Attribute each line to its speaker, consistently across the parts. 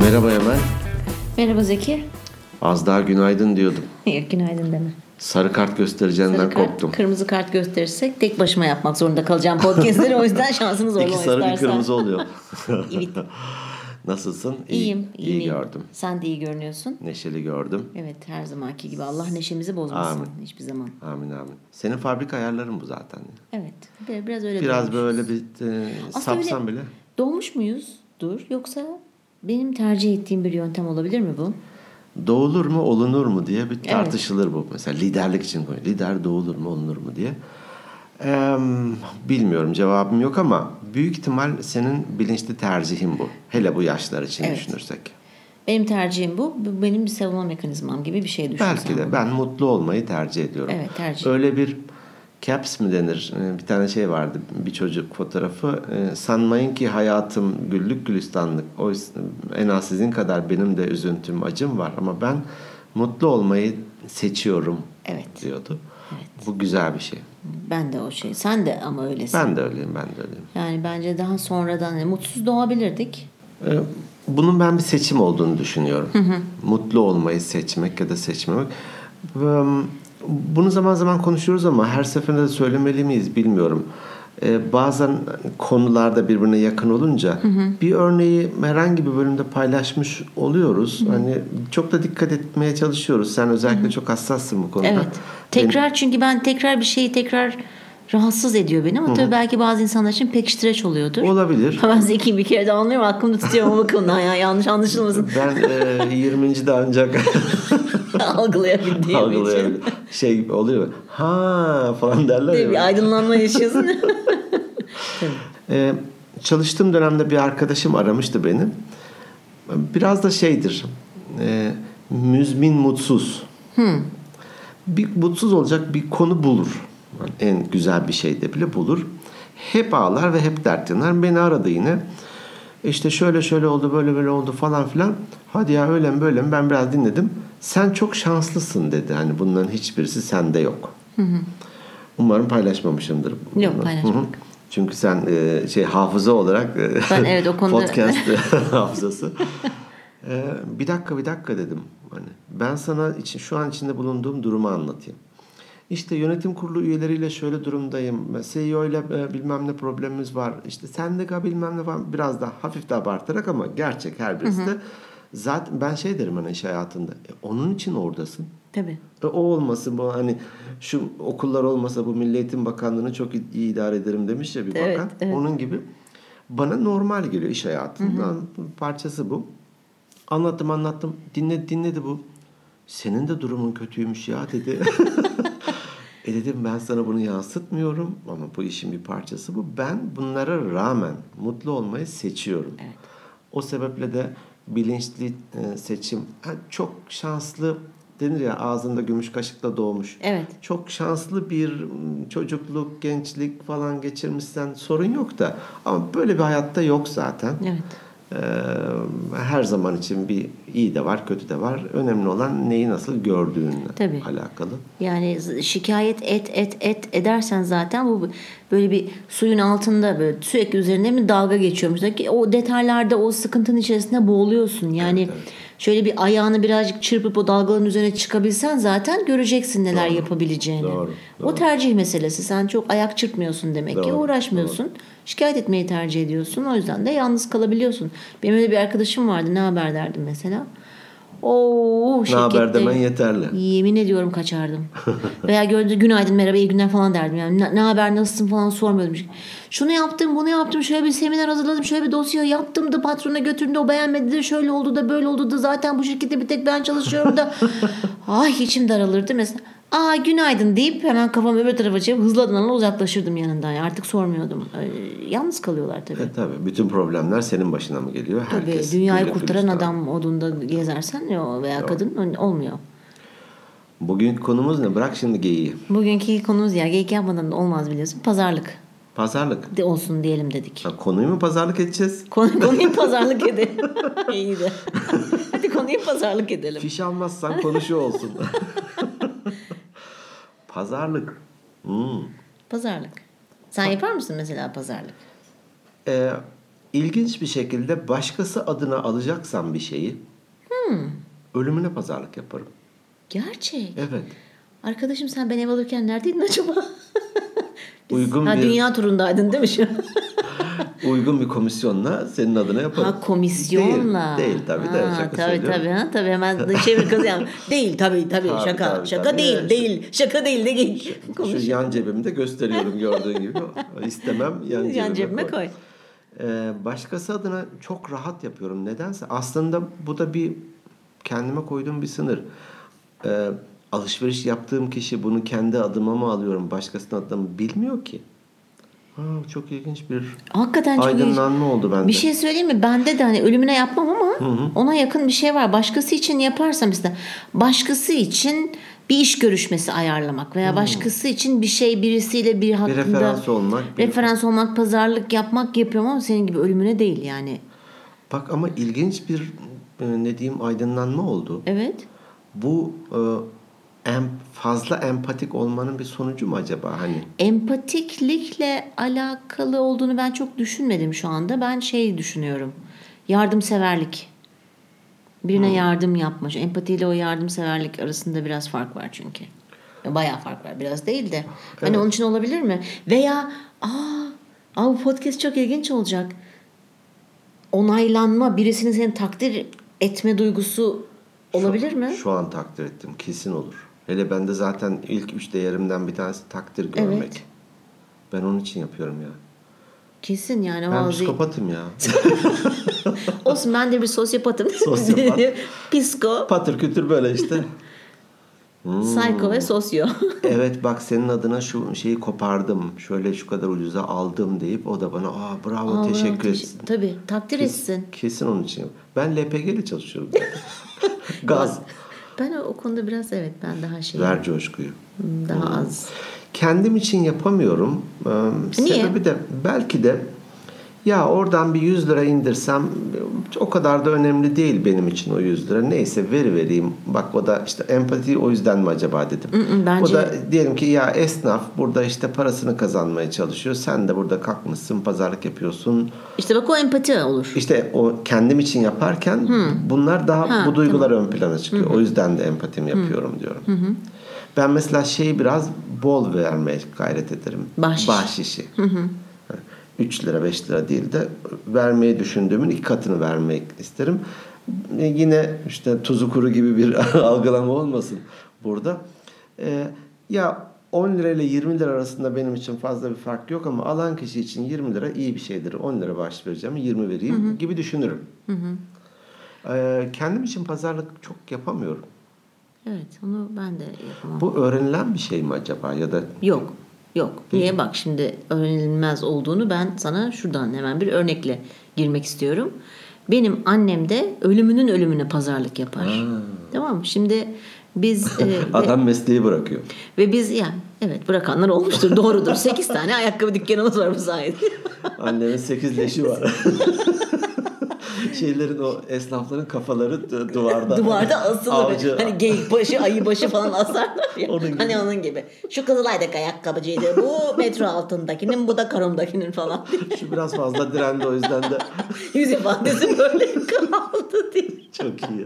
Speaker 1: Merhaba Emel.
Speaker 2: Merhaba Zeki.
Speaker 1: Az daha günaydın diyordum.
Speaker 2: Hayır günaydın deme.
Speaker 1: Sarı kart göstereceğinden
Speaker 2: Sarı kart,
Speaker 1: koptum.
Speaker 2: kırmızı kart gösterirsek tek başıma yapmak zorunda kalacağım podcastleri. o yüzden şansınız zorlama
Speaker 1: İki sarı bir
Speaker 2: istersen.
Speaker 1: kırmızı oluyor.
Speaker 2: Evet.
Speaker 1: Nasılsın? İyi-
Speaker 2: İyiyim.
Speaker 1: İyi, gördüm.
Speaker 2: Sen de iyi görünüyorsun.
Speaker 1: Neşeli gördüm.
Speaker 2: Evet her zamanki gibi Allah neşemizi bozmasın hiçbir zaman.
Speaker 1: Amin amin. Senin fabrika ayarların bu zaten.
Speaker 2: Evet bir- biraz öyle
Speaker 1: Biraz
Speaker 2: doğmuş.
Speaker 1: böyle bir e,
Speaker 2: Aslında
Speaker 1: sapsan
Speaker 2: öyle-
Speaker 1: bile.
Speaker 2: Doğmuş muyuz? Dur yoksa benim tercih ettiğim bir yöntem olabilir mi bu?
Speaker 1: Doğulur mu olunur mu diye bir tartışılır bu. Mesela liderlik için konuyor. Lider doğulur mu olunur mu diye. Eee, bilmiyorum cevabım yok ama büyük ihtimal senin bilinçli tercihin bu. Hele bu yaşlar için
Speaker 2: Evet.
Speaker 1: düşünürsek.
Speaker 2: Benim tercihim bu. Bu benim bir savunma mekanizmam gibi bir şey düşünsem.
Speaker 1: Belki de ben mutlu olmayı tercih ediyorum.
Speaker 2: Evet, tercih.
Speaker 1: Öyle bir caps mi denir? Ee, Bir tane şey vardı bir çocuk fotoğrafı. Ee, Sanmayın ki hayatım güllük gülistanlık. O en az sizin kadar benim de üzüntüm acım var ama ben mutlu olmayı seçiyorum
Speaker 2: Evet.
Speaker 1: diyordu. Bu güzel bir şey.
Speaker 2: Ben de o şey. Sen de ama öylesin.
Speaker 1: Ben de öyleyim ben de öyleyim.
Speaker 2: Yani bence daha sonradan yani mutsuz doğabilirdik.
Speaker 1: Ee, Bunun ben bir seçim olduğunu düşünüyorum. Mutlu olmayı seçmek ya da seçmemek. Ve, um, Bunu zaman zaman konuşuyoruz ama her seferinde de söylemeli miyiz bilmiyorum. Ee, Bazen konularda birbirine yakın olunca bir örneği herhangi bir bölümde paylaşmış oluyoruz. Hani çok da dikkat etmeye çalışıyoruz. Sen özellikle çok hassassın bu konuda.
Speaker 2: Evet. Tekrar çünkü ben tekrar bir şeyi tekrar rahatsız ediyor beni ama tabii belki bazı insanlar için pekiştireç oluyordur.
Speaker 1: Benim- olabilir.
Speaker 2: ben zeki bir kere de anlıyorum aklımda tutuyorum o bakımdan ya yanlış anlaşılmasın
Speaker 1: Ben e, 20. de ancak
Speaker 2: algılayabildiğim için.
Speaker 1: algılayabilir. Şey oluyor. Ha falan derler
Speaker 2: Değil
Speaker 1: ya.
Speaker 2: mi? Bir aydınlanma yaşıyorsun.
Speaker 1: Ee, çalıştığım dönemde bir arkadaşım aramıştı beni. Biraz da şeydir. E, müzmin mutsuz. Bir mutsuz olacak bir konu bulur. En güzel bir şey de bile bulur. Hep ağlar ve hep dert yanar. Beni aradı yine. İşte şöyle şöyle oldu böyle böyle oldu falan filan. Hadi ya öyle mi böyle mi ben biraz dinledim. Sen çok şanslısın dedi. Hani bunların hiçbirisi sende yok. Umarım paylaşmamışımdır.
Speaker 2: Yok, paylaşmadım.
Speaker 1: Hı hı. Çünkü sen e, şey hafıza olarak e,
Speaker 2: Ben evet o konuda-
Speaker 1: podcast hafızası. E, bir dakika bir dakika dedim. Hani ben sana için şu an içinde bulunduğum durumu anlatayım. İşte yönetim kurulu üyeleriyle şöyle durumdayım. CEO ile e, bilmem ne problemimiz var. İşte sendika bilmem ne var. Biraz daha hafif de abartarak ama gerçek her birisi de. Zaten ben şey derim hani iş hayatında. e, onun için oradasın.
Speaker 2: Tabii.
Speaker 1: E, O olmasın bu hani şu okullar olmasa bu Milli Eğitim Bakanlığı'nı çok i- iyi idare ederim demiş ya bir
Speaker 2: Evet,
Speaker 1: bakan.
Speaker 2: evet.
Speaker 1: Onun gibi. Bana normal geliyor iş hayatının parçası bu. Anlattım anlattım. Dinledi dinledi bu. Senin de durumun kötüymüş ya dedi. e dedim ben sana bunu yansıtmıyorum ama bu işin bir parçası bu. Ben bunlara rağmen mutlu olmayı seçiyorum. O sebeple de bilinçli e, seçim. Ha, çok şanslı denir ya ağzında gümüş kaşıkla doğmuş.
Speaker 2: Evet.
Speaker 1: Çok şanslı bir m, çocukluk, gençlik falan geçirmişsen sorun yok da. Ama böyle bir hayatta yok zaten.
Speaker 2: Evet.
Speaker 1: Ee, her zaman için bir iyi de var, kötü de var. Önemli olan neyi nasıl gördüğünle
Speaker 2: Tabii.
Speaker 1: alakalı.
Speaker 2: Yani z- şikayet et et et edersen zaten bu böyle bir suyun altında böyle sürekli üzerinde mi dalga geçiyormuş. Ki o detaylarda o sıkıntının içerisinde boğuluyorsun. Yani şöyle bir ayağını birazcık çırpıp o dalgaların üzerine çıkabilsen zaten göreceksin neler yapabileceğini.
Speaker 1: doğru,
Speaker 2: O tercih meselesi. Sen çok ayak çırpmıyorsun demek ki.
Speaker 1: Doğru,
Speaker 2: Uğraşmıyorsun. Şikayet etmeyi tercih ediyorsun. O yüzden de yalnız kalabiliyorsun. Benim öyle bir arkadaşım vardı. Ne haber derdim mesela. Oo,
Speaker 1: Ne haber
Speaker 2: şirkette-
Speaker 1: demen yeterli.
Speaker 2: Yemin ediyorum kaçardım. Veya gördüğü günaydın merhaba iyi günler falan derdim. Yani ne, ne haber nasılsın falan sormuyordum. Şunu yaptım bunu yaptım şöyle bir seminer hazırladım şöyle bir dosya yaptım da patrona götürdüm de o beğenmedi de şöyle oldu da böyle oldu da zaten bu şirkette bir tek ben çalışıyorum da. Ay içim daralırdı mesela. Aa günaydın deyip hemen kafamı öbür tarafa çevirip hızlı adımlarla uzaklaşırdım yanından. Yani artık sormuyordum. Ee, yalnız kalıyorlar tabii.
Speaker 1: E, tabii bütün problemler senin başına mı geliyor?
Speaker 2: Tabii
Speaker 1: Herkes
Speaker 2: dünyayı
Speaker 1: güllük
Speaker 2: kurtaran
Speaker 1: gülistanlık.
Speaker 2: adam odunda gezersen ya veya kadın olmuyor.
Speaker 1: Bugünkü konumuz ne? Bırak şimdi geyiği.
Speaker 2: Bugünkü konumuz ya geyik yapmadan da olmaz biliyorsun. Pazarlık
Speaker 1: Pazarlık.
Speaker 2: de olsun diyelim dedik.
Speaker 1: Ha, konuyu mu pazarlık edeceğiz?
Speaker 2: Konu, konuyu pazarlık edelim. İyi de. Hadi konuyu pazarlık edelim.
Speaker 1: Fiş almazsan konuşuyor olsun. pazarlık. Hmm.
Speaker 2: Pazarlık. Sen yapar mısın mesela pazarlık?
Speaker 1: Ee, ilginç bir şekilde başkası adına alacaksam bir şeyi
Speaker 2: Hmm.
Speaker 1: ölümüne pazarlık yaparım.
Speaker 2: Gerçek.
Speaker 1: Evet.
Speaker 2: Arkadaşım sen ben ev alırken neredeydin acaba? Biz-
Speaker 1: Uygun
Speaker 2: ha,
Speaker 1: bir-
Speaker 2: Dünya turundaydın değil mi şu an?
Speaker 1: Uygun bir komisyonla senin adına yaparım.
Speaker 2: Ha komisyonla.
Speaker 1: Değil, değil tabii de
Speaker 2: Ha,
Speaker 1: şaka
Speaker 2: tabii
Speaker 1: söylüyorum.
Speaker 2: tabii ha tabii hemen de çevir kız yani. Değil tabii tabii
Speaker 1: Tabii,
Speaker 2: şaka
Speaker 1: tabii,
Speaker 2: şaka
Speaker 1: tabii.
Speaker 2: değil
Speaker 1: Şu-
Speaker 2: değil şaka değil de geç.
Speaker 1: Şu
Speaker 2: Konuş.
Speaker 1: yan cebimde gösteriyorum gördüğün gibi. İstemem yan cebime,
Speaker 2: Yan cebime koy.
Speaker 1: Ee, başkası adına çok rahat yapıyorum. Nedense aslında bu da bir kendime koyduğum bir sınır. Ee, alışveriş yaptığım kişi bunu kendi adıma mı alıyorum, başkasının adına mı bilmiyor ki. Ha, çok ilginç bir
Speaker 2: Hakikaten çok ilginç.
Speaker 1: aydınlanma oldu bende.
Speaker 2: Bir şey söyleyeyim mi? Bende de hani ölümüne yapmam ama ona yakın bir şey var. Başkası için yaparsam işte başkası için bir iş görüşmesi ayarlamak veya başkası için bir şey birisiyle bir hakkında
Speaker 1: referans olmak, bir-
Speaker 2: referans olmak, pazarlık yapmak yapıyorum ama senin gibi ölümüne değil yani.
Speaker 1: Bak ama ilginç bir e, ne diyeyim aydınlanma oldu.
Speaker 2: Evet.
Speaker 1: Bu e, em, fazla empatik olmanın bir sonucu mu acaba hani?
Speaker 2: Empatiklikle alakalı olduğunu ben çok düşünmedim şu anda. Ben şey düşünüyorum. Yardımseverlik.
Speaker 1: Hmm.
Speaker 2: Birine yardım yapma. Şu Empatiyle o yardımseverlik arasında biraz fark var çünkü. Ya Bayağı fark var. Biraz değil de. Hani onun için olabilir mi? Veya aa, aa bu podcast çok ilginç olacak. Onaylanma, birisinin seni takdir etme duygusu olabilir mi?
Speaker 1: Şu an takdir ettim. Kesin olur. Hele bende zaten ilk üç değerimden bir tanesi takdir
Speaker 2: Evet.
Speaker 1: görmek. Ben onun için yapıyorum ya.
Speaker 2: Kesin yani.
Speaker 1: Ben
Speaker 2: o-
Speaker 1: psikopatım ya.
Speaker 2: Olsun ben de bir sosyopatım.
Speaker 1: Sosyopat.
Speaker 2: Psiko,
Speaker 1: Patır kütür böyle işte.
Speaker 2: psycho
Speaker 1: Hmm.
Speaker 2: ve sosyo.
Speaker 1: evet bak senin adına şu şeyi kopardım. Şöyle şu kadar ucuza aldım deyip o da bana aa bravo
Speaker 2: Aa,
Speaker 1: teşekkür
Speaker 2: bravo,
Speaker 1: etsin.
Speaker 2: teş- Tabii takdir etsin.
Speaker 1: Kesin onun için. yapıyorum. Ben LPG ile çalışıyorum. Gaz.
Speaker 2: Ben o, o konuda biraz evet ben daha şey
Speaker 1: Ver coşkuyu.
Speaker 2: daha
Speaker 1: Hmm.
Speaker 2: az.
Speaker 1: Kendim için yapamıyorum. Ee,
Speaker 2: Niye?
Speaker 1: Sebebi de belki de ya oradan bir 100 lira indirsem o kadar da önemli değil benim için o 100 lira. Neyse veri vereyim. Bak o da işte empati o yüzden mi acaba dedim.
Speaker 2: Mm, mm, bence-
Speaker 1: O da diyelim ki ya esnaf burada işte parasını kazanmaya çalışıyor. Sen de burada kalkmışsın pazarlık yapıyorsun.
Speaker 2: İşte bak o empati olur.
Speaker 1: İşte o kendim için yaparken bunlar daha
Speaker 2: Ha,
Speaker 1: bu duygular ön plana çıkıyor. O yüzden de empatimi yapıyorum diyorum. Ben mesela şeyi biraz bol vermeye gayret ederim.
Speaker 2: Bahşiş.
Speaker 1: Bahşişi. 3 lira 5 lira değil de vermeyi düşündüğümün iki katını vermek isterim. E, Yine işte tuzu kuru gibi bir algılama olmasın burada. E, ya 10 lira ile 20 lira arasında benim için fazla bir fark yok ama alan kişi için 20 lira iyi bir şeydir. 10 lira bahşiş vereceğim 20 vereyim gibi düşünürüm. E, kendim için pazarlık çok yapamıyorum.
Speaker 2: Evet onu ben de yapamam.
Speaker 1: Bu öğrenilen bir şey mi acaba ya da
Speaker 2: Yok. Yok. Niye bak şimdi öğrenilmez olduğunu ben sana şuradan hemen bir örnekle girmek istiyorum. Benim annem de ölümünün ölümüne pazarlık yapar. Tamam mı? Şimdi biz e, ve-
Speaker 1: adam mesleği bırakıyor.
Speaker 2: Ve biz yani evet bırakanlar olmuştur doğrudur. 8 tane ayakkabı dükkanımız var bu sayede.
Speaker 1: Annemin sekiz leşi var. Şeylerin o esnafların kafaları du- duvarda.
Speaker 2: Duvarda asılı.
Speaker 1: Avcı.
Speaker 2: Hani geyik başı, ayı başı falan asarlar ya.
Speaker 1: Onun gibi.
Speaker 2: Hani onun gibi. Şu Kızılay'daki ayakkabıcıydı. Bu metro altındakinin, bu da karomdakinin falan.
Speaker 1: Şu biraz fazla direndi o yüzden de
Speaker 2: Yüz ifadesi böyle kaldı diye.
Speaker 1: çok iyi.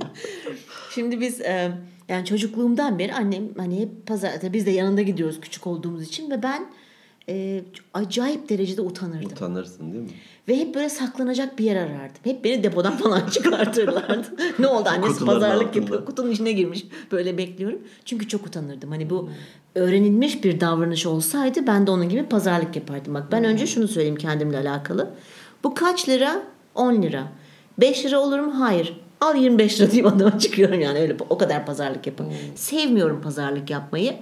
Speaker 2: Şimdi biz e, yani çocukluğumdan beri annem hani hep pazar tabii biz de yanında gidiyoruz küçük olduğumuz için ve ben e, acayip derecede utanırdım.
Speaker 1: Utanırsın değil mi?
Speaker 2: Ve hep böyle saklanacak bir yer arardım. Hep beni depodan falan çıkartırlardı. ne oldu annesi
Speaker 1: Kutuların
Speaker 2: pazarlık
Speaker 1: altında.
Speaker 2: yapıyor. Kutunun içine girmiş. Böyle bekliyorum. Çünkü çok utanırdım. Hani bu öğrenilmiş bir davranış olsaydı ben de onun gibi pazarlık yapardım. Bak ben önce şunu söyleyeyim kendimle alakalı. Bu kaç lira? 10 lira. 5 lira olur mu? Hayır. Al 25 lira diyeyim adama çıkıyorum yani öyle o kadar pazarlık yapıyorum. Sevmiyorum pazarlık yapmayı.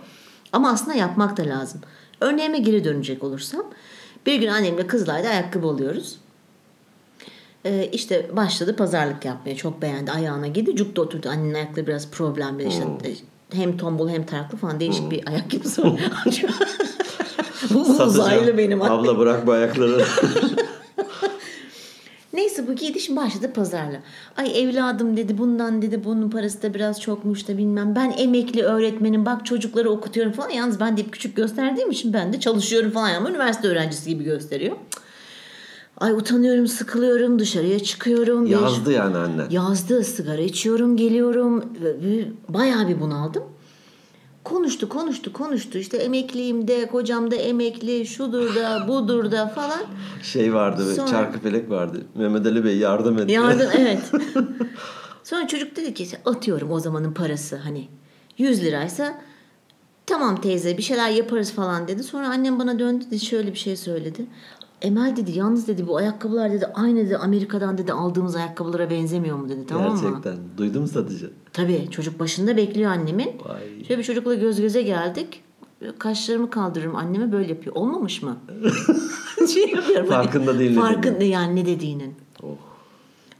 Speaker 2: Ama aslında yapmak da lazım. Örneğime geri dönecek olursam. Bir gün annemle Kızılay'da ayakkabı alıyoruz. Ee, işte başladı pazarlık yapmaya. Çok beğendi. Ayağına girdi. Cukta oturdu. Annenin ayakları biraz problemli. İşte e, hem tombul hem taraklı falan değişik bir ayak yapısı var. Hmm. Bu uzaylı benim annem.
Speaker 1: Abla bırak bu ayakları.
Speaker 2: Neyse bu gidiş başladı pazarla. Ay evladım dedi bundan dedi bunun parası da biraz çokmuş da bilmem. Ben emekli öğretmenim bak çocukları okutuyorum falan. Yalnız ben de hep küçük gösterdiğim için ben de çalışıyorum falan. Ama üniversite öğrencisi gibi gösteriyor. Cık. Ay utanıyorum, sıkılıyorum, dışarıya çıkıyorum. Bir-
Speaker 1: Yazdı yani annen.
Speaker 2: Yazdı, sigara içiyorum, geliyorum. Bayağı bir bunaldım. Konuştu, konuştu, konuştu. İşte emekliyim de, kocam da emekli, şudur da, budur da falan.
Speaker 1: Şey vardı,
Speaker 2: Sonra-
Speaker 1: Çarkıfelek vardı. Mehmet Ali Bey yardım et.
Speaker 2: Yardım, evet. Sonra çocuk dedi ki "İşte atıyorum o zamanın parası hani 100 liraysa tamam teyze bir şeyler yaparız falan dedi. Sonra annem bana döndü dedi şöyle bir şey söyledi. Emel dedi yalnız dedi bu ayakkabılar dedi aynı dedi Amerika'dan dedi aldığımız ayakkabılara benzemiyor mu dedi tamam mı?
Speaker 1: Gerçekten. Duydum satıcı.
Speaker 2: Tabii çocuk başında bekliyor annemin.
Speaker 1: Vay.
Speaker 2: Şöyle bir çocukla göz göze geldik. Kaşlarımı kaldırırım anneme böyle yapıyor. Olmamış mı? şey yapıyorum. hani.
Speaker 1: Farkında değil ne
Speaker 2: Farkında yani ne dediğinin.
Speaker 1: Oh.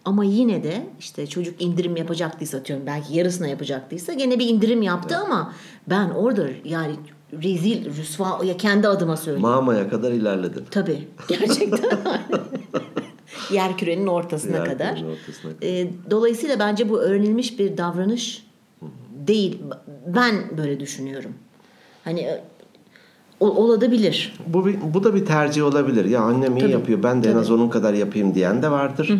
Speaker 2: Ama yine de işte çocuk indirim yapacaktıysa atıyorum belki yarısına yapacaktıysa gene bir indirim yaptı ama ben orada yani rezil rüsva ya kendi adıma söyleyeyim.
Speaker 1: Mama'ya kadar ilerledin.
Speaker 2: Tabii gerçekten yer kürenin ortasına
Speaker 1: Yer
Speaker 2: kadar.
Speaker 1: kürenin ortasına kadar.
Speaker 2: Ee, dolayısıyla bence bu öğrenilmiş bir davranış değil. Ben böyle düşünüyorum. Hani e, o- olabilir.
Speaker 1: Bu, bir- bu da bir tercih olabilir. Ya annem iyi
Speaker 2: Tabii,
Speaker 1: yapıyor ben de en
Speaker 2: tabii.
Speaker 1: az onun kadar yapayım diyen de vardır.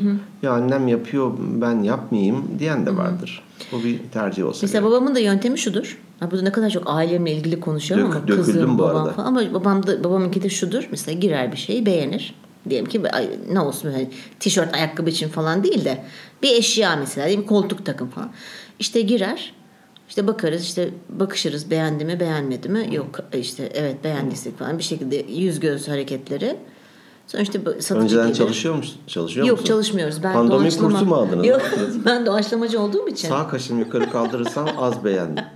Speaker 1: Ya annem yapıyor ben yapmayayım diyen de vardır. Bu bir tercih olsa
Speaker 2: Mesela
Speaker 1: gerek.
Speaker 2: babamın da yöntemi şudur. Ha, bu da ne kadar çok ailemle ilgili konuşuyorum
Speaker 1: Dök-
Speaker 2: ama
Speaker 1: döküldüm
Speaker 2: kızım
Speaker 1: bu
Speaker 2: babam
Speaker 1: arada.
Speaker 2: falan. Ama babam da, babamınki de şudur. Mesela girer bir şeyi beğenir. Diyelim ki "Ay, ne olsun hani tişört ayakkabı için falan değil de bir eşya mesela diyelim koltuk takım falan. İşte girer işte bakarız işte bakışırız beğendi mi beğenmedi mi yok işte evet beğendiysek falan bir şekilde yüz göz hareketleri. Sonra işte bu- satıcı
Speaker 1: Önceden
Speaker 2: gelir.
Speaker 1: çalışıyor musun? Çalışıyor
Speaker 2: Yok
Speaker 1: musun?
Speaker 2: çalışmıyoruz. Ben
Speaker 1: Pandomim
Speaker 2: doğaçlama-
Speaker 1: kursu mu aldınız?
Speaker 2: Yok ben doğaçlamacı olduğum için.
Speaker 1: Sağ kaşını yukarı kaldırırsam az beğendim.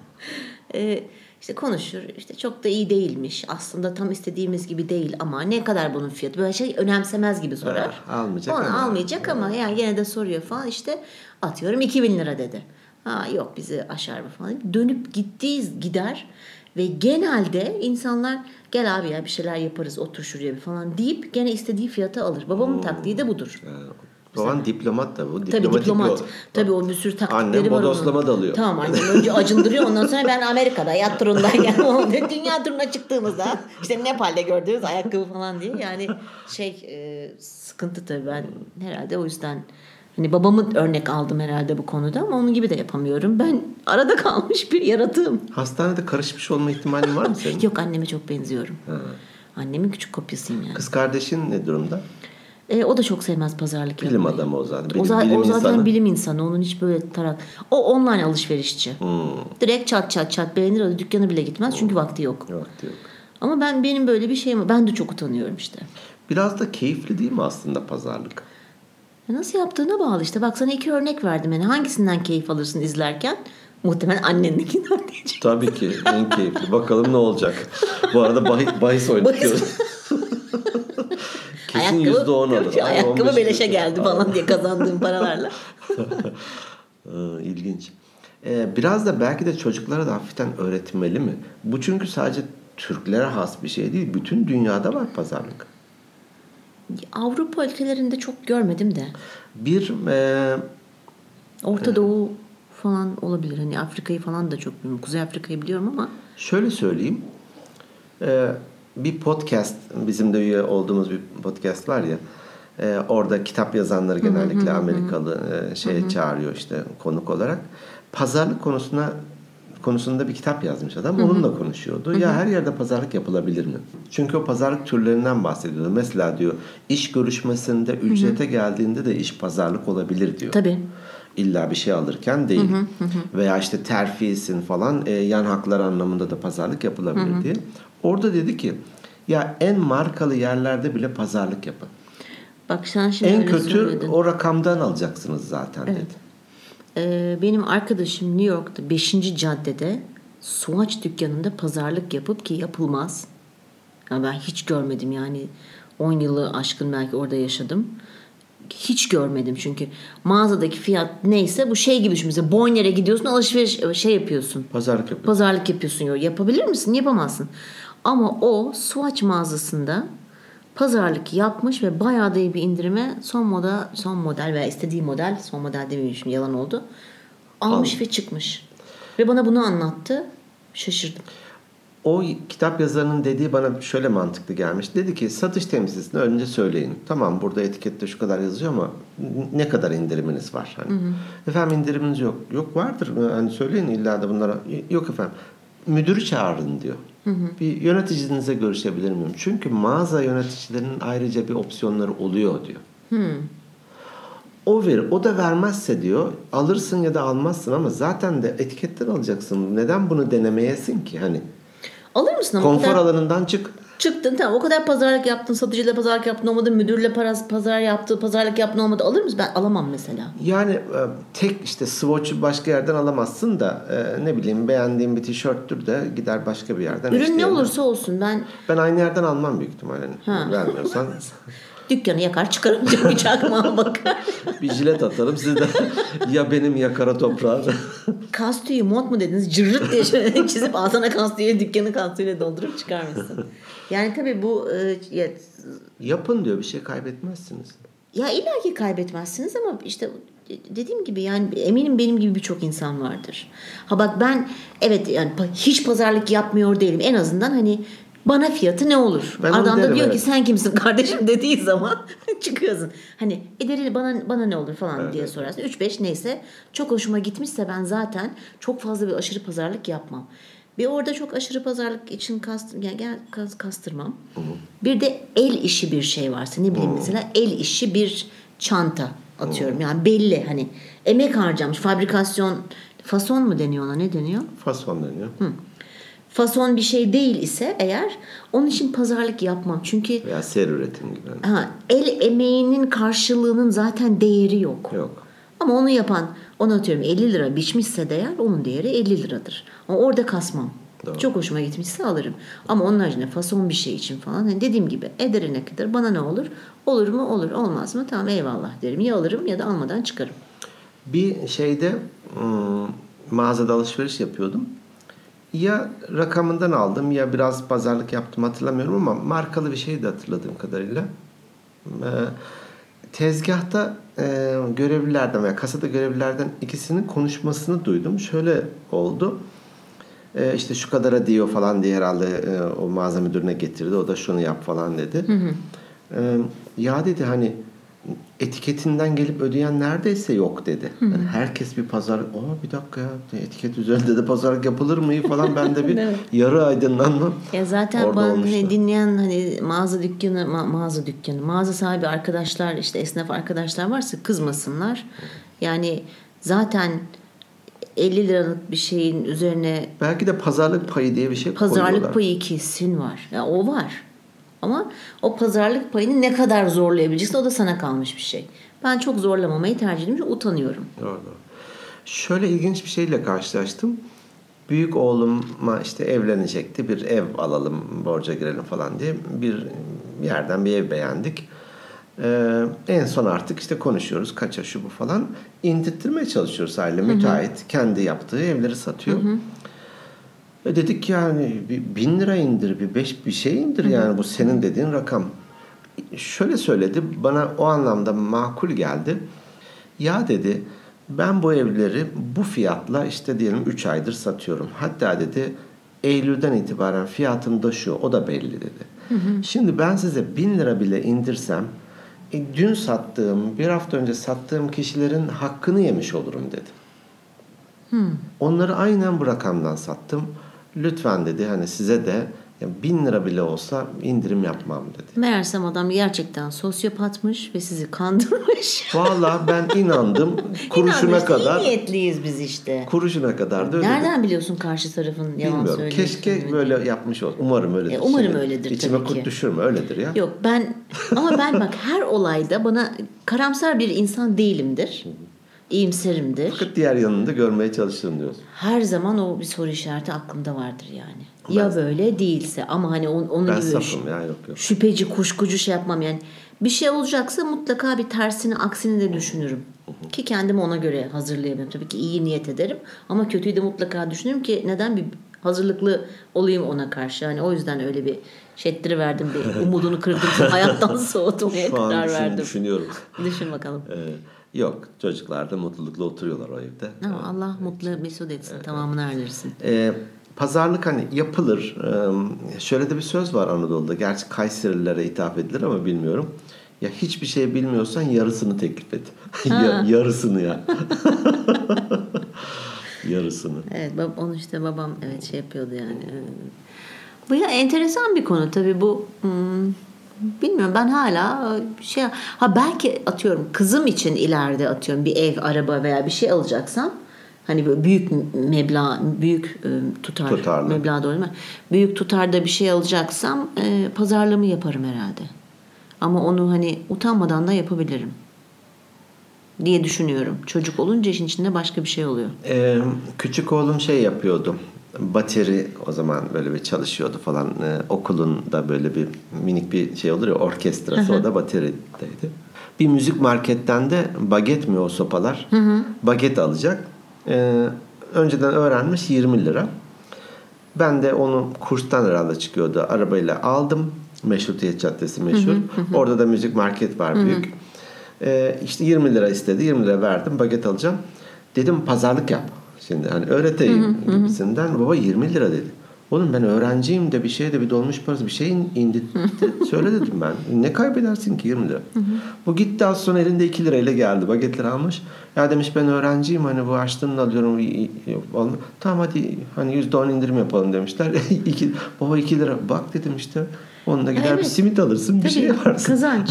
Speaker 2: Ee, işte konuşur. İşte çok da iyi değilmiş. Aslında tam istediğimiz gibi değil ama ne kadar bunun fiyatı? Böyle şey önemsemez gibi sorar.
Speaker 1: Ha, almayacak
Speaker 2: Onu
Speaker 1: ama.
Speaker 2: almayacak ama yani gene de soruyor falan. İşte atıyorum 2000 lira dedi. Ha yok bizi aşar mı falan. Dönüp gittiğiz gider ve genelde insanlar gel abi ya bir şeyler yaparız otur şuraya bir falan deyip gene istediği fiyata alır. Babamın taktiği de budur.
Speaker 1: Ee, Baban diplomat da bu.
Speaker 2: Tabii
Speaker 1: Diplomatik
Speaker 2: diplomat.
Speaker 1: yol.
Speaker 2: Tabii o bir sürü taktikleri
Speaker 1: Annem
Speaker 2: var onun.
Speaker 1: bodoslama dalıyor.
Speaker 2: Tamam annem önce acındırıyor ondan sonra ben Amerika'da hayat turundan geldim. Dünya turuna çıktığımızda işte Nepal'de gördüğümüz ayakkabı falan diye yani şey e, sıkıntı tabii ben herhalde o yüzden hani babamı örnek aldım herhalde bu konuda ama onun gibi de yapamıyorum. Ben arada kalmış bir yaratığım.
Speaker 1: Hastanede karışmış olma ihtimalin var mı senin?
Speaker 2: Yok anneme çok benziyorum. Annemin küçük kopyasıyım yani.
Speaker 1: Kız kardeşin ne durumda?
Speaker 2: E, o da çok sevmez pazarlık
Speaker 1: Bilim
Speaker 2: yapmayı.
Speaker 1: adamı o zaten. Bilim-
Speaker 2: o, za-
Speaker 1: bilim
Speaker 2: o zaten
Speaker 1: insanı.
Speaker 2: bilim insanı. Onun hiç böyle tarak. O online alışverişçi.
Speaker 1: Hmm,
Speaker 2: Direkt çat çat çat beğenir alır. Dükkana bile gitmez çünkü vakti yok.
Speaker 1: Yok diyor.
Speaker 2: Ama ben benim böyle bir şeyim var. Ben de çok utanıyorum işte.
Speaker 1: Biraz da keyifli değil mi aslında pazarlık?
Speaker 2: Ya E, Nasıl yaptığına bağlı işte. Bak sana iki örnek verdim. Yani hangisinden keyif alırsın izlerken? Muhtemelen annendekinden diyeceğim.
Speaker 1: Tabii ki en keyifli. Bakalım ne olacak. Bu arada bahis, bahis oynatıyoruz. Kesin yüzde on alır. Ay,
Speaker 2: ayakkabı
Speaker 1: 15
Speaker 2: beleşe
Speaker 1: yüzde-
Speaker 2: geldi falan diye kazandığım paralarla.
Speaker 1: Ee, İlginç. Ee, biraz da belki de çocuklara da hafiften öğretmeli mi? Bu çünkü sadece Türklere has bir şey değil. Bütün dünyada var pazarlık.
Speaker 2: Avrupa ülkelerinde çok görmedim de.
Speaker 1: Bir e,
Speaker 2: Orta Doğu falan olabilir. Hani Afrika'yı falan da çok bilmiyorum. Kuzey Afrika'yı biliyorum ama
Speaker 1: Şöyle söyleyeyim. Ee, bir podcast, bizim de üye olduğumuz bir podcast var ya. e, orada kitap yazanları genellikle Amerikalı e, şeye çağırıyor işte konuk olarak. Pazarlık konusuna konusunda bir kitap yazmış adam. Onunla konuşuyordu. Ya her yerde pazarlık yapılabilir mi? Çünkü o pazarlık türlerinden bahsediyordu. Mesela diyor iş görüşmesinde ücrete geldiğinde de iş pazarlık olabilir diyor.
Speaker 2: Tabii.
Speaker 1: İlla bir şey alırken değil. Veya işte terfisin falan e, yan haklar anlamında da pazarlık yapılabilir diye. Orada dedi ki ya en markalı yerlerde bile pazarlık yapın.
Speaker 2: bak sen şimdi
Speaker 1: en
Speaker 2: öyle
Speaker 1: kötü
Speaker 2: söyledin.
Speaker 1: o rakamdan alacaksınız zaten dedi.
Speaker 2: Ee, benim arkadaşım New York'ta 5. caddede Suaç dükkanında pazarlık yapıp ki yapılmaz. Ya ben hiç görmedim yani 10 yılı aşkın belki orada yaşadım. Hiç görmedim çünkü mağazadaki fiyat neyse bu şey gibi düşün. Mesela Boyner'e gidiyorsun alışveriş şey yapıyorsun.
Speaker 1: Pazarlık yapın.
Speaker 2: Pazarlık yapıyorsun. Yapabilir misin? Yapamazsın. Ama o Swatch mağazasında pazarlık yapmış ve bayağı da iyi bir indirime son moda son model veya istediği model son model demeyeyim şimdi yalan oldu. Almış ve çıkmış. Ve bana bunu anlattı. Şaşırdım.
Speaker 1: o kitap yazarının dediği bana şöyle mantıklı gelmiş. Dedi ki satış temsilcisine önce söyleyin. Tamam burada etikette şu kadar yazıyor ama ne kadar indiriminiz var? Hani, Efendim indiriminiz yok. Yok vardır. Hani söyleyin illa da bunlara. Yok efendim. Müdürü çağırın diyor. Bir yöneticinize görüşebilir miyim? Çünkü mağaza yöneticilerinin ayrıca bir opsiyonları oluyor diyor. O verir. O da vermezse diyor alırsın ya da almazsın ama zaten de etiketten alacaksın. Neden bunu denemeyesin ki? Hani
Speaker 2: Alır mısın ama o
Speaker 1: konfor
Speaker 2: kadar
Speaker 1: alanından çık.
Speaker 2: çıktın tamam o kadar pazarlık yaptın satıcıyla pazarlık yaptın olmadı müdürle paraz, pazar yaptı pazarlık yaptın olmadı alır mısın ben alamam mesela.
Speaker 1: Yani e, tek işte Swatch'u başka yerden alamazsın da e, ne bileyim beğendiğim bir tişörttür de gider başka bir yerden.
Speaker 2: Ürün ne
Speaker 1: eşdeğer.
Speaker 2: olursa olsun ben
Speaker 1: Ben aynı yerden almam büyük ihtimalle. Vermiyorsan
Speaker 2: dükkanı yakar çıkarım diyor çakmağa bakar.
Speaker 1: bir jilet atarım siz de ya benim ya kara toprağa.
Speaker 2: Kas tüyü mont mu dediniz cırrıt diye şöyle çizip altına kas tüyü dükkanı kas tüyüyle doldurup çıkarmışsın. Yani tabii bu e, ya,
Speaker 1: Yapın diyor bir şey kaybetmezsiniz.
Speaker 2: ya illa ki kaybetmezsiniz ama işte dediğim gibi yani eminim benim gibi birçok insan vardır. Ha bak ben evet yani pa- hiç pazarlık yapmıyor değilim. En azından hani bana fiyatı ne olur?
Speaker 1: Ben onu
Speaker 2: Adam da
Speaker 1: derim,
Speaker 2: diyor ki
Speaker 1: evet.
Speaker 2: sen kimsin kardeşim dediği zaman çıkıyorsun. Hani ederi bana bana ne olur falan diye sorarsın. 3-5 neyse çok hoşuma gitmişse ben zaten çok fazla bir aşırı pazarlık yapmam. Bir orada çok aşırı pazarlık için kast, yani gel kas- kastırmam. Bir de el işi bir şey varsa ne bileyim mesela el işi bir çanta atıyorum. Yani belli hani emek harcamış fabrikasyon fason mu deniyor ona ne deniyor?
Speaker 1: Fason deniyor.
Speaker 2: Fason bir şey değil ise eğer onun için pazarlık yapmam. Çünkü
Speaker 1: Veya seri üretim gibi. hani.
Speaker 2: Ha, el emeğinin karşılığının zaten değeri yok.
Speaker 1: Yok.
Speaker 2: Ama onu yapan, onu atıyorum 50 lira biçmişse değer, onun değeri 50 liradır. Ama orada kasmam.
Speaker 1: Doğru.
Speaker 2: Çok hoşuma gitmişse alırım. Ama onun haricinde fason bir şey için falan. Hani dediğim gibi edere ne kadar, bana ne olur? Olur mu? Olur. Olmaz mı? Tamam eyvallah derim. Ya alırım ya da almadan çıkarım.
Speaker 1: Bir şeyde ım, mağazada alışveriş yapıyordum. Ya rakamından aldım ya biraz pazarlık yaptım hatırlamıyorum ama markalı bir şeydi hatırladığım kadarıyla. Ee, tezgahta e, görevlilerden veya kasada görevlilerden ikisinin konuşmasını duydum. Şöyle oldu. E, işte şu kadara diyor falan diye herhalde e, o mağaza müdürüne getirdi. O da şunu yap falan dedi. E, ya dedi hani etiketinden gelip ödeyen neredeyse yok dedi. Yani herkes bir pazar, o bir dakika ya etiket üzerinde de pazarlık yapılır mı falan bende bir yarı aydınlanma.
Speaker 2: Ya zaten
Speaker 1: Orada
Speaker 2: bana
Speaker 1: olmuştu.
Speaker 2: hani dinleyen hani mağaza dükkanı ma- mağaza dükkanı mağaza sahibi arkadaşlar işte esnaf arkadaşlar varsa kızmasınlar. Yani zaten 50 liralık bir şeyin üzerine
Speaker 1: Belki de pazarlık payı diye bir şey koyuyorlar.
Speaker 2: pazarlık payı kesin var. Ya o var. Ama o pazarlık payını ne kadar zorlayabileceksin o da sana kalmış bir şey. Ben çok zorlamamayı tercih ediyorum. çünkü Utanıyorum.
Speaker 1: Doğru. doğru. Şöyle ilginç bir şeyle karşılaştım. Büyük oğluma işte evlenecekti. Bir ev alalım, borca girelim falan diye bir yerden bir ev beğendik. Ee, en son artık işte konuşuyoruz kaça şu bu falan. İndirttirmeye çalışıyoruz aile. Müteahhit kendi yaptığı evleri satıyor. E dedik ki yani bir bin lira indir, bir beş bir şey indir yani bu senin dediğin rakam. Şöyle söyledi, bana o anlamda makul geldi. Ya dedi, ben bu evleri bu fiyatla işte diyelim 3 aydır satıyorum. Hatta dedi Eylül'den itibaren fiyatım da şu, o da belli dedi. Şimdi ben size bin lira bile indirsem, e, dün sattığım, bir hafta önce sattığım kişilerin hakkını yemiş olurum dedi. Onları aynen bu rakamdan sattım. Lütfen dedi hani size de ya bin lira bile olsa indirim yapmam dedi.
Speaker 2: Meğersem adam gerçekten sosyopatmış ve sizi kandırmış.
Speaker 1: Vallahi ben inandım kuruşuna
Speaker 2: İnanmış, iyi
Speaker 1: kadar
Speaker 2: niyetliyiz biz işte.
Speaker 1: kuruşuna kadar da öyle dedim.
Speaker 2: Nereden biliyorsun karşı tarafın yalan
Speaker 1: Bilmiyorum.
Speaker 2: söylediğini?
Speaker 1: Keşke böyle yapmış ol. Umarım öyledir.
Speaker 2: E, umarım
Speaker 1: Şimdi
Speaker 2: öyledir
Speaker 1: İçime
Speaker 2: tabii
Speaker 1: kurt
Speaker 2: ki.
Speaker 1: düşürme öyledir ya.
Speaker 2: Yok ben ama ben bak her olayda bana karamsar bir insan değilimdir. İyimserimdir.
Speaker 1: Fakat diğer yanını da görmeye çalışırım diyorsun.
Speaker 2: Her zaman o bir soru işareti aklımda vardır yani. Ya böyle değilse ama hani on, onun
Speaker 1: Ben
Speaker 2: gibi
Speaker 1: safım ya yok yok.
Speaker 2: şüpheci kuşkucu şey yapmam yani. Bir şey olacaksa mutlaka bir tersini aksini de düşünürüm. Ki kendimi ona göre hazırlayabilirim. Tabii ki iyi niyet ederim ama kötüyü de mutlaka düşünürüm ki neden bir hazırlıklı olayım ona karşı. Yani o yüzden öyle bir şettiri verdim bir umudunu kırdım hayattan soğutmaya
Speaker 1: Şu an
Speaker 2: karar
Speaker 1: düşün-
Speaker 2: verdim.
Speaker 1: düşünüyorum.
Speaker 2: Düşün bakalım.
Speaker 1: Ee, yok çocuklar da mutlulukla oturuyorlar o evde.
Speaker 2: Ama Allah mutlu mesut etsin tamamını erdirsin.
Speaker 1: Ee, pazarlık hani yapılır. Ee, Şöyle de bir söz var Anadolu'da. Gerçi Kayserililere hitap edilir ama bilmiyorum. Ya hiçbir şey bilmiyorsan yarısını teklif et. Ya- yarısını ya. yarısını.
Speaker 2: Evet bab- onu işte babam evet şey yapıyordu yani. Ee, Bu ya enteresan bir konu tabii bu hmm, bilmiyorum ben hala e, şey ha belki atıyorum kızım için ileride atıyorum bir ev araba veya bir şey alacaksam hani böyle büyük meblağ büyük e, tutar
Speaker 1: Tutarlı.
Speaker 2: meblağ doğru mu? Büyük tutarda bir şey alacaksam e, pazarlama yaparım herhalde. Ama onu hani utanmadan da yapabilirim diye düşünüyorum. Çocuk olunca işin içinde başka bir şey oluyor.
Speaker 1: Ee, küçük oğlum şey yapıyordu. Bateri o zaman böyle bir çalışıyordu falan. Ee, okulun da böyle bir minik bir şey olur ya orkestrası o da baterideydi. Bir müzik marketten de baget mi o sopalar? Baget alacak. Ee, önceden öğrenmiş 20 lira. Ben de onu kurstan herhalde çıkıyordu. Arabayla aldım. Meşrutiyet Caddesi meşhur. Orada da müzik market var büyük. Ee, işte 20 lira istedi. 20 lira verdim. Baget alacağım. Dedim pazarlık yap. Şimdi hani öğreteyim gibisinden. Baba 20 lira dedi. Oğlum ben öğrenciyim de bir şeye de bir dolmuş parası bir şeyin indi. Söyle dedim ben. Ne kaybedersin ki 20 lira? bu gitti az sonra elinde 2 lirayla geldi. Bagetleri almış. Ya demiş ben öğrenciyim hani bu açtığını da alıyorum. İ- i- yok, alma- Tamam hadi hani %10 indirim yapalım demişler. iki, baba 2 lira. Bak dedim işte. Onunla gider bir
Speaker 2: Evet.
Speaker 1: simit alırsın bir
Speaker 2: Tabii,
Speaker 1: şey yaparsın.
Speaker 2: Kazanç.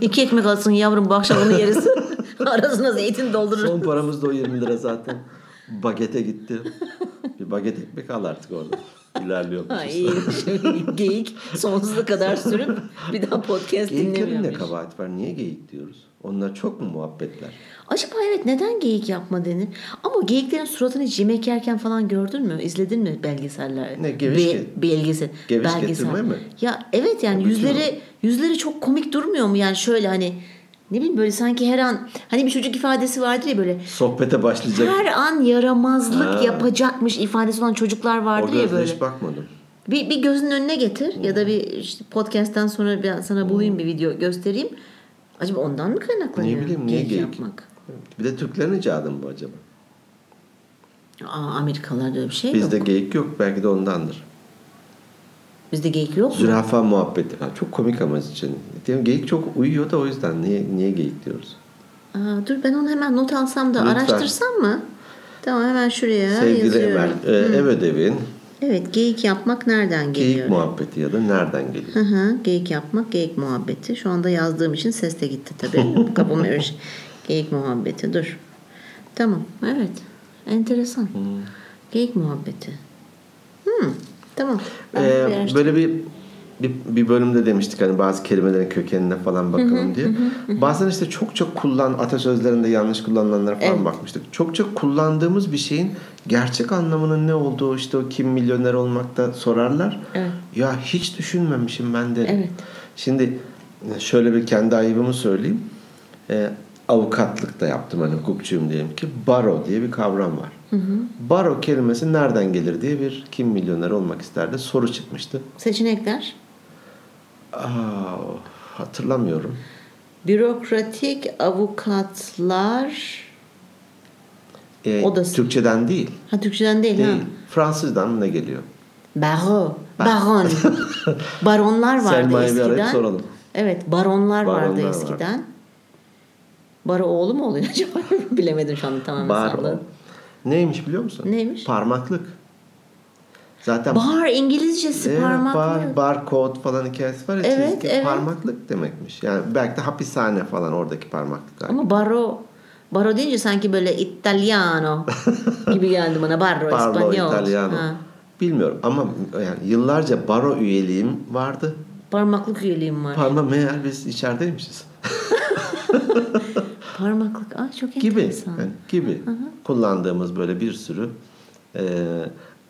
Speaker 2: İki ekmek alsın yavrum bu akşam onu yeriz. Arasına zeytin doldurur.
Speaker 1: Son paramız da o 20 lira zaten. Bagete gitti. Bir baget ekmek al artık orada. İlerliyor.
Speaker 2: Ay, şöyle geyik sonsuza kadar sürüp bir daha podcast
Speaker 1: Geyiklerin de
Speaker 2: dinlemiyormuş.
Speaker 1: kabahat var. Niye geyik diyoruz? Onlar çok mu muhabbetler?
Speaker 2: Acaba evet neden geyik yapma denir? Ama geyiklerin suratını hiç yemek yerken falan gördün mü? İzledin mi belgeseller?
Speaker 1: Ne, geviş
Speaker 2: Be-
Speaker 1: ge-
Speaker 2: belgesel.
Speaker 1: geviş
Speaker 2: belgesel.
Speaker 1: getirme mi?
Speaker 2: Ya evet yani
Speaker 1: Tabii
Speaker 2: yüzleri
Speaker 1: canım.
Speaker 2: yüzleri çok komik durmuyor mu? Yani şöyle hani ne bileyim böyle sanki her an hani bir çocuk ifadesi vardır ya böyle
Speaker 1: Sohbete başlayacak.
Speaker 2: Her an yaramazlık
Speaker 1: Ha.
Speaker 2: yapacakmış ifadesi olan çocuklar
Speaker 1: o
Speaker 2: vardır ya
Speaker 1: gözle
Speaker 2: böyle.
Speaker 1: hiç bakmadım.
Speaker 2: Bir, bir gözünün önüne getir ya da bir işte podcast'ten sonra ben sana bulayım bir video göstereyim. Acaba ondan mı kaynaklanıyor?
Speaker 1: Ne bileyim, niye geyik?
Speaker 2: yapmak.
Speaker 1: Bir de Türklerin icadı mı bu acaba?
Speaker 2: Aa, Amerikalarda öyle bir şey
Speaker 1: Bizde
Speaker 2: yok.
Speaker 1: geyik yok. Belki de ondandır.
Speaker 2: Bizde geyik yok mu?
Speaker 1: Zürafa muhabbeti. Ha, çok komik ama için. Diyelim, geyik çok uyuyor da o yüzden. Niye, niye geyik diyoruz?
Speaker 2: Aa, dur ben onu hemen not alsam da
Speaker 1: Lütfen.
Speaker 2: araştırsam mı? Tamam hemen şuraya
Speaker 1: Sevgili
Speaker 2: yazıyorum.
Speaker 1: Emel, e, ev ödevin
Speaker 2: Evet geyik yapmak nereden geliyor?
Speaker 1: geyik muhabbeti ya da nereden geliyor?
Speaker 2: Hı hı, geyik yapmak, geyik muhabbeti. Şu anda yazdığım için ses de gitti tabii. Kafama öyle şey. Geyik muhabbeti, dur. Tamam, evet. Enteresan. Geyik muhabbeti. Hı, tamam. Ben
Speaker 1: E,
Speaker 2: bir araştır-
Speaker 1: böyle bir, bir bir bölümde demiştik hani bazı kelimelerin kökenine falan bakalım diye. Bazen işte çok çok kullan atasözlerinde yanlış kullanılanlara falan bakmıştık. Çok çok kullandığımız bir şeyin gerçek anlamının ne olduğu işte o kim milyoner olmakta sorarlar.
Speaker 2: Evet.
Speaker 1: Ya hiç düşünmemişim ben de.
Speaker 2: Evet.
Speaker 1: Şimdi e, şöyle bir kendi ayıbımı söyleyeyim. Ee, avukatlık da yaptım hani hukukçuyum diyelim ki. Baro diye bir kavram var. Baro kelimesi nereden gelir diye bir kim milyoner olmak ister de soru çıkmıştı.
Speaker 2: Seçenekler.
Speaker 1: Aa, hatırlamıyorum.
Speaker 2: Bürokratik avukatlar.
Speaker 1: Ee,
Speaker 2: Odası.
Speaker 1: Türkçeden değil.
Speaker 2: Ha Türkçeden değil,
Speaker 1: Değil.
Speaker 2: E, ha.
Speaker 1: Fransızdan mı ne geliyor?
Speaker 2: Baro. Baron. Baronlar vardı
Speaker 1: Selma'yı bir
Speaker 2: eskiden.
Speaker 1: arayıp soralım.
Speaker 2: Evet, baronlar, vardı
Speaker 1: Baronlar var.
Speaker 2: eskiden. Baro oğlu mu oluyor acaba? Bilemedim şu anda tamamen
Speaker 1: Baro.
Speaker 2: salladım.
Speaker 1: Neymiş biliyor musun?
Speaker 2: Neymiş?
Speaker 1: Parmaklık. Zaten
Speaker 2: Bar İngilizcesi
Speaker 1: Evet,
Speaker 2: parmaklı.
Speaker 1: Ee, Bar, bar kod falan hikayesi var ya
Speaker 2: Evet,
Speaker 1: çizgi
Speaker 2: evet.
Speaker 1: parmaklık demekmiş. Yani belki de hapishane falan oradaki parmaklıklar.
Speaker 2: Ama baro. Baro deyince sanki böyle Italiano gibi geldi bana. Barro,
Speaker 1: Parlo,
Speaker 2: İspanyol.
Speaker 1: İtalyano.
Speaker 2: Ha.
Speaker 1: Bilmiyorum ama yani yıllarca baro üyeliğim vardı.
Speaker 2: Parmaklık üyeliğim var.
Speaker 1: Parma meğer biz içerideymişiz.
Speaker 2: Parmaklık. Aa, çok
Speaker 1: gibi
Speaker 2: enteresan.
Speaker 1: yani gibi kullandığımız böyle bir sürü e,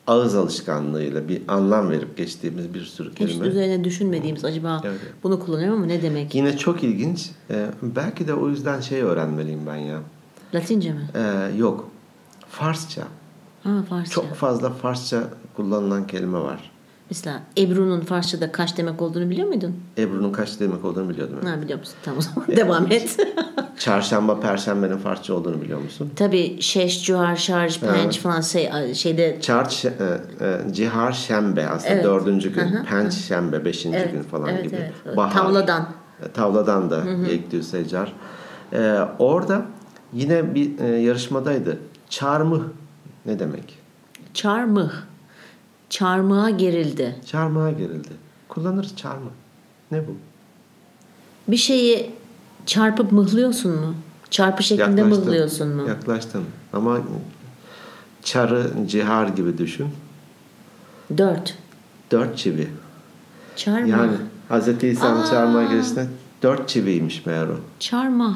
Speaker 1: ağız alışkanlığıyla bir anlam verip geçtiğimiz bir sürü
Speaker 2: Hiç
Speaker 1: kelime.
Speaker 2: üzerine düşünmediğimiz acaba
Speaker 1: Evet.
Speaker 2: bunu kullanıyorum ama ne demek?
Speaker 1: Yine çok ilginç. E, belki de o yüzden şey öğrenmeliyim ben ya.
Speaker 2: Latince mi?
Speaker 1: E, yok. Farsça.
Speaker 2: Ha Farsça. Şey.
Speaker 1: Çok fazla Farsça kullanılan kelime var.
Speaker 2: Mesela Ebru'nun Farsça'da kaç demek olduğunu biliyor muydun?
Speaker 1: Ebru'nun kaç demek olduğunu biliyordum.
Speaker 2: Ha, biliyor musun? Tamam o zaman devam et.
Speaker 1: Çarşamba, perşembenin Farsça olduğunu biliyor musun?
Speaker 2: Tabii şeş, cuhar, şarj, penç falan şey, şeyde
Speaker 1: Çarş, e, e, cihar şembe aslında
Speaker 2: Evet.
Speaker 1: dördüncü gün.
Speaker 2: Hı hı,
Speaker 1: Penç şembe beşinci
Speaker 2: Evet,
Speaker 1: gün falan
Speaker 2: evet,
Speaker 1: gibi.
Speaker 2: evet. Tavladan.
Speaker 1: E, Tavladan da Yekdil Secar. E, orada yine bir e, yarışmadaydı. Çarmıh ne demek?
Speaker 2: çarmıh. Çarmıha gerildi.
Speaker 1: Çarmıha gerildi. Kullanırız çarmıh. Ne bu?
Speaker 2: Bir şeyi çarpıp mıhlıyorsun mu? Çarpı şeklinde mıhlıyorsun mu?
Speaker 1: Yaklaştım. Ama çarı cihar gibi düşün.
Speaker 2: Dört.
Speaker 1: Dört çivi.
Speaker 2: Çarmıh.
Speaker 1: Yani Hz. İsa'nın
Speaker 2: Aa.
Speaker 1: çarmıha girişinde dört çiviymiş meğer o.
Speaker 2: Çarmıh.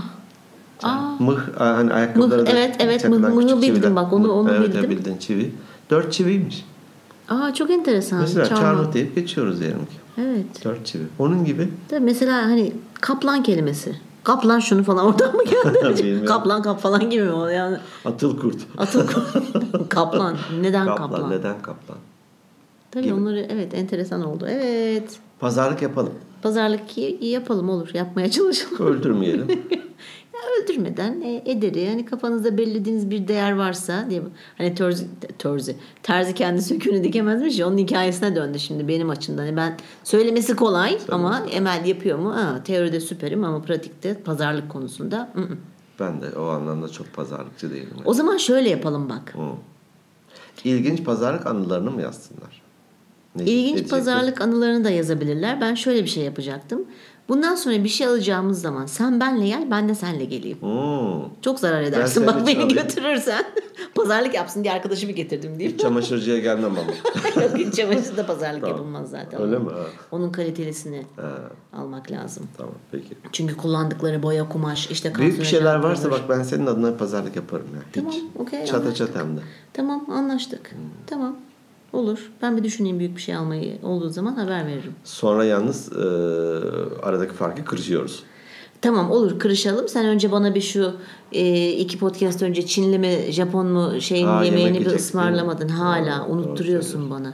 Speaker 2: Aa,
Speaker 1: Mıh hani ayakkabılara
Speaker 2: Mıh,
Speaker 1: da
Speaker 2: evet, evet,
Speaker 1: çakılan
Speaker 2: mıh- mıhı
Speaker 1: küçük
Speaker 2: bildim
Speaker 1: çiviler.
Speaker 2: bak, onu-
Speaker 1: Mıh,
Speaker 2: onu
Speaker 1: evet,
Speaker 2: bildim.
Speaker 1: Evet bildin çivi. Dört çiviymiş.
Speaker 2: aa çok enteresan.
Speaker 1: Mesela
Speaker 2: çarmıh.
Speaker 1: çarmıh deyip geçiyoruz diyelim ki.
Speaker 2: Evet.
Speaker 1: Dört çivi. Onun gibi
Speaker 2: Tabii mesela hani kaplan kelimesi. Kaplan şunu falan oradan mı geldi?
Speaker 1: Bilmiyorum.
Speaker 2: kaplan kap falan gibi mi? o? Yani
Speaker 1: atıl kurt.
Speaker 2: atıl kaplan. Neden kaplan?
Speaker 1: kaplan, neden kaplan?
Speaker 2: Tabii
Speaker 1: gibi.
Speaker 2: onları evet enteresan oldu. Evet.
Speaker 1: Pazarlık yapalım.
Speaker 2: Pazarlık y- yapalım olur. Yapmaya çalışalım.
Speaker 1: Öldürmeyelim.
Speaker 2: Ya öldürmeden e, ederi yani kafanızda belirlediğiniz bir değer varsa diye hani terzi, terzi terzi kendi söküğünü dikemezmiş ya onun hikayesine döndü şimdi benim açımdan. Yani ben söylemesi kolay ama Emel yapıyor mu? Ha, teoride süperim ama pratikte pazarlık konusunda. ı-ı.
Speaker 1: ben de o anlamda çok pazarlıkçı değilim.
Speaker 2: O zaman şöyle yapalım bak.
Speaker 1: Hı. İlginç pazarlık anılarını mı yazsınlar? Ne
Speaker 2: İlginç
Speaker 1: diyecektim?
Speaker 2: pazarlık anılarını da yazabilirler. Ben şöyle bir şey yapacaktım. Bundan sonra bir şey alacağımız zaman sen benle gel ben de senle geleyim.
Speaker 1: Hmm.
Speaker 2: Çok zarar
Speaker 1: seni
Speaker 2: edersin bak beni
Speaker 1: çalayım.
Speaker 2: götürürsen. Pazarlık yapsın diye arkadaşımı getirdim diyeyim.
Speaker 1: Çamaşırcıya gelmem ama.
Speaker 2: Yok iç çamaşırda pazarlık yapılmaz zaten.
Speaker 1: Öyle mi? Ha.
Speaker 2: Onun kalitelisini
Speaker 1: Ha,
Speaker 2: almak lazım.
Speaker 1: tamam peki.
Speaker 2: Çünkü kullandıkları boya, kumaş, işte
Speaker 1: Büyük bir
Speaker 2: kanserojen
Speaker 1: şeyler varsa
Speaker 2: kumaş.
Speaker 1: bak ben senin adına pazarlık yaparım ya.
Speaker 2: Tamam,
Speaker 1: Hiç.
Speaker 2: okey,
Speaker 1: Çata
Speaker 2: anlaştık.
Speaker 1: çatam da.
Speaker 2: Tamam anlaştık. Tamam. Olur. Ben bir düşüneyim büyük bir şey almayı olduğu zaman haber veririm.
Speaker 1: Sonra yalnız e, aradaki farkı kırışıyoruz.
Speaker 2: Tamam olur kırışalım. Sen önce bana bir şu e, iki podcast önce Çinli mi Japon mu şeyin
Speaker 1: Aa, yemek
Speaker 2: yemeğini bir
Speaker 1: yiyecektik,
Speaker 2: ısmarlamadın.
Speaker 1: değil mi?
Speaker 2: Hala
Speaker 1: Aa, doğru
Speaker 2: unutturuyorsun bana.
Speaker 1: Aa,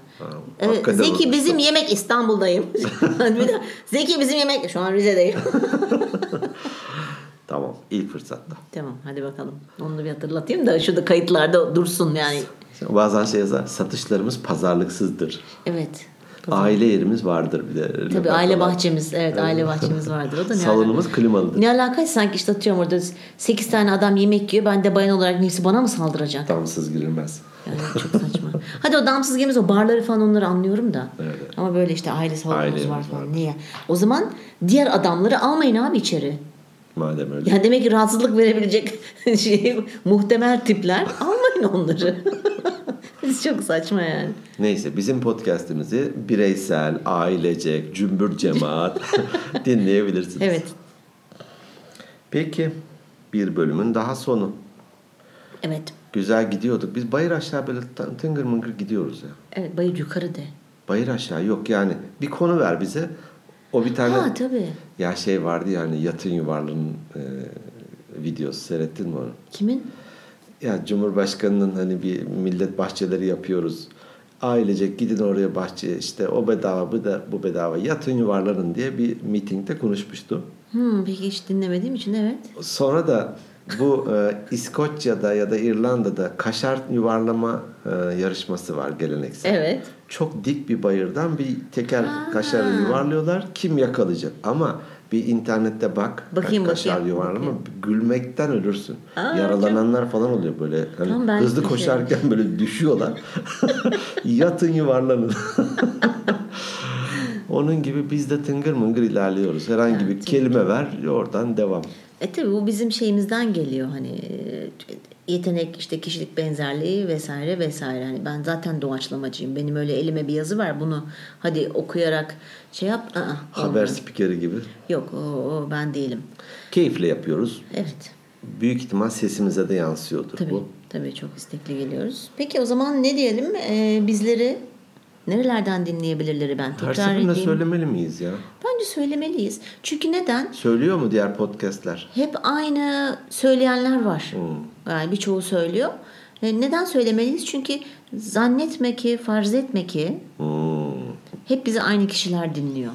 Speaker 2: Evet,
Speaker 1: hakikaten
Speaker 2: Zeki
Speaker 1: unutmuştum.
Speaker 2: bizim yemek İstanbul'dayım. Bir de, Zeki bizim yemek şu an Rize'deyim.
Speaker 1: Tamam ilk fırsatta.
Speaker 2: Tamam hadi bakalım. Onu da bir hatırlatayım da şurada kayıtlarda dursun yani.
Speaker 1: Bazen şey yazar satışlarımız pazarlıksızdır.
Speaker 2: Evet.
Speaker 1: Aile yerimiz vardır bir de.
Speaker 2: Tabii aile bahçemiz. Evet aile bahçemiz vardır. O da ne alaka?
Speaker 1: Salonumuz klimalıdır.
Speaker 2: Ne alakası sanki işte atıyorum orada 8 tane adam yemek yiyor. Ben de bayan olarak neyse bana mı saldıracak?
Speaker 1: Damsız girilmez.
Speaker 2: Yani çok saçma. Hadi o damsız gemimiz o barları falan onları anlıyorum da.
Speaker 1: Evet, evet.
Speaker 2: Ama böyle işte aile salonumuz
Speaker 1: Ailemiz
Speaker 2: var falan.
Speaker 1: vardır.
Speaker 2: Niye? O zaman diğer adamları almayın abi içeri.
Speaker 1: Madem öyle.
Speaker 2: Yani demek ki rahatsızlık verebilecek şey, muhtemel tipler almayın onları. Biz çok saçma yani.
Speaker 1: Neyse bizim podcast'imizi bireysel, ailecek, cümbür cemaat dinleyebilirsiniz.
Speaker 2: Evet.
Speaker 1: Peki bir bölümün daha sonu.
Speaker 2: Evet.
Speaker 1: Güzel gidiyorduk. Biz bayır aşağı böyle t- tıngır mıngır gidiyoruz ya.
Speaker 2: Evet bayır yukarı de.
Speaker 1: Bayır aşağı yok yani. Bir konu ver bize. O bir tane
Speaker 2: Ha tabii.
Speaker 1: ya şey vardı yani yatın yuvarlığının e, videosu seyrettin mi onu?
Speaker 2: Kimin?
Speaker 1: Ya Cumhurbaşkanının hani bir millet bahçeleri yapıyoruz. Ailecek gidin oraya bahçeye işte o bedava bu da bu bedava yatın yuvarlanın diye bir mitingde konuşmuştu.
Speaker 2: Hmm, peki hiç dinlemediğim için evet.
Speaker 1: Sonra da bu e, İskoçya'da ya da İrlanda'da kaşar yuvarlama e, yarışması var geleneksel.
Speaker 2: Evet.
Speaker 1: Çok dik bir bayırdan bir teker
Speaker 2: Ha.
Speaker 1: kaşarı yuvarlıyorlar. Kim yakalayacak? Ama bir internette bak.
Speaker 2: Bakayım,
Speaker 1: kaşar
Speaker 2: bakayım,
Speaker 1: yuvarlama. Gülmekten ölürsün.
Speaker 2: Aa,
Speaker 1: Yaralananlar falan oluyor böyle. Hani
Speaker 2: Tamam, ben
Speaker 1: hızlı
Speaker 2: düşerim.
Speaker 1: koşarken böyle düşüyorlar. Yatın yuvarlanın. Onun gibi biz de tıngır mıngır ilerliyoruz. Herhangi bir kelime ver oradan devam.
Speaker 2: E tabii bu bizim şeyimizden geliyor hani e, yetenek işte kişilik benzerliği vesaire vesaire. Hani ben zaten doğaçlamacıyım. Benim öyle elime bir yazı var. Bunu hadi okuyarak şey yap. Aa, olmuyor.
Speaker 1: Haber spikeri gibi.
Speaker 2: Yok o, o ben değilim.
Speaker 1: Keyifle yapıyoruz.
Speaker 2: Evet.
Speaker 1: Büyük ihtimal sesimize de yansıyordur
Speaker 2: Tabii.
Speaker 1: bu.
Speaker 2: Tabii çok istekli geliyoruz. Peki o zaman ne diyelim? E, bizleri nerelerden dinleyebilirler ben
Speaker 1: Her
Speaker 2: tekrar
Speaker 1: seferinde
Speaker 2: edeyim.
Speaker 1: söylemeli miyiz ya?
Speaker 2: Bence söylemeliyiz. Çünkü neden?
Speaker 1: Söylüyor mu diğer podcastler?
Speaker 2: Hep aynı söyleyenler var.
Speaker 1: Hmm.
Speaker 2: Yani birçoğu söylüyor. E, Neden söylemeliyiz? Çünkü zannetme ki, farz etme ki
Speaker 1: Hmm.
Speaker 2: Hep bizi aynı kişiler dinliyor.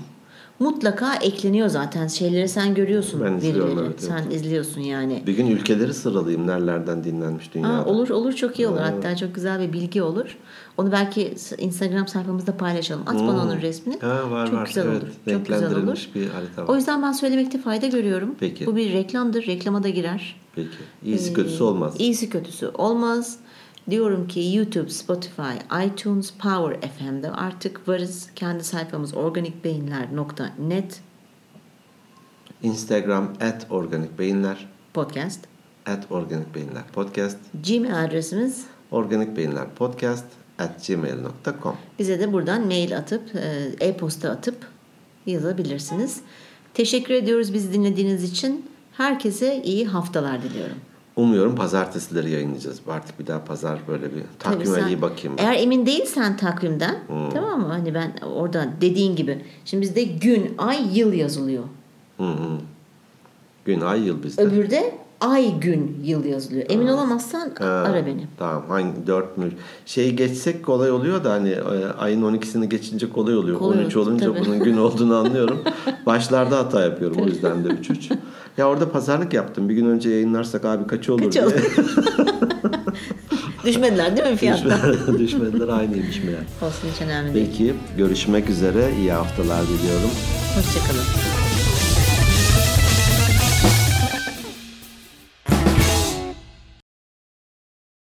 Speaker 2: Mutlaka ekleniyor zaten. Şeyleri sen görüyorsun.
Speaker 1: Ben izliyorum,
Speaker 2: verileri.
Speaker 1: evet,
Speaker 2: Sen izliyorsun yani.
Speaker 1: Bir gün ülkeleri sıralayayım nerelerden dinlenmiş dünyada.
Speaker 2: Aa, olur olur çok iyi
Speaker 1: Ee,
Speaker 2: olur. Hatta çok güzel bir bilgi olur. Onu belki Instagram sayfamızda paylaşalım. At bana onun resmini.
Speaker 1: Hmm. Ha, var
Speaker 2: çok
Speaker 1: var.
Speaker 2: güzel
Speaker 1: evet,
Speaker 2: olur. Çok güzel olur.
Speaker 1: renklendirilmiş bir harita var.
Speaker 2: O yüzden ben söylemekte fayda görüyorum.
Speaker 1: Peki.
Speaker 2: Bu bir reklamdır. Reklama da girer.
Speaker 1: Peki.
Speaker 2: Ee,
Speaker 1: İyisi kötüsü olmaz.
Speaker 2: İyisi kötüsü olmaz. Diyorum ki YouTube, Spotify, iTunes, Power FM'de artık varız. Kendi sayfamız organikbeyinler.net
Speaker 1: Instagram at organik beyinler.
Speaker 2: podcast.
Speaker 1: At organik beyinler podcast.
Speaker 2: Gmail adresimiz.
Speaker 1: Organik beyinler podcast at gmail.com.
Speaker 2: Bize de buradan mail atıp, e, e-posta atıp yazabilirsiniz. Teşekkür ediyoruz bizi dinlediğiniz için. Herkese iyi haftalar diliyorum.
Speaker 1: Umuyorum pazartesileri yayınlayacağız. Artık bir daha pazar böyle bir
Speaker 2: Tabii
Speaker 1: takvime
Speaker 2: sen-
Speaker 1: iyi bakayım. ben. Hmm.
Speaker 2: Eğer emin değilsen takvimden tamam mı? Hani ben orada dediğin gibi. Şimdi bizde gün, ay, yıl yazılıyor.
Speaker 1: Hı hı. Gün ay yıl bizde.
Speaker 2: Öbürde ay, gün, yıl yazılıyor. Emin olamazsan
Speaker 1: Ha,
Speaker 2: ara beni.
Speaker 1: Ee, Tamam hangi dört mü? Şeyi geçsek kolay oluyor da hani e, ayın 12'sini geçince kolay oluyor.
Speaker 2: Kolay
Speaker 1: 13
Speaker 2: oluyor,
Speaker 1: olunca
Speaker 2: tabii.
Speaker 1: bunun gün olduğunu anlıyorum. Başlarda hata yapıyorum o yüzden de 3 3. Ya orada pazarlık yaptım. Bir gün önce yayınlarsak abi kaç olur
Speaker 2: Kaç
Speaker 1: diye.
Speaker 2: olur? Düşmediler değil mi fiyattan?
Speaker 1: Düşme- Düşmediler aynıymış meğer.
Speaker 2: Olsun hiç önemli değil.
Speaker 1: Peki görüşmek üzere. İyi haftalar diliyorum.
Speaker 2: Hoşçakalın.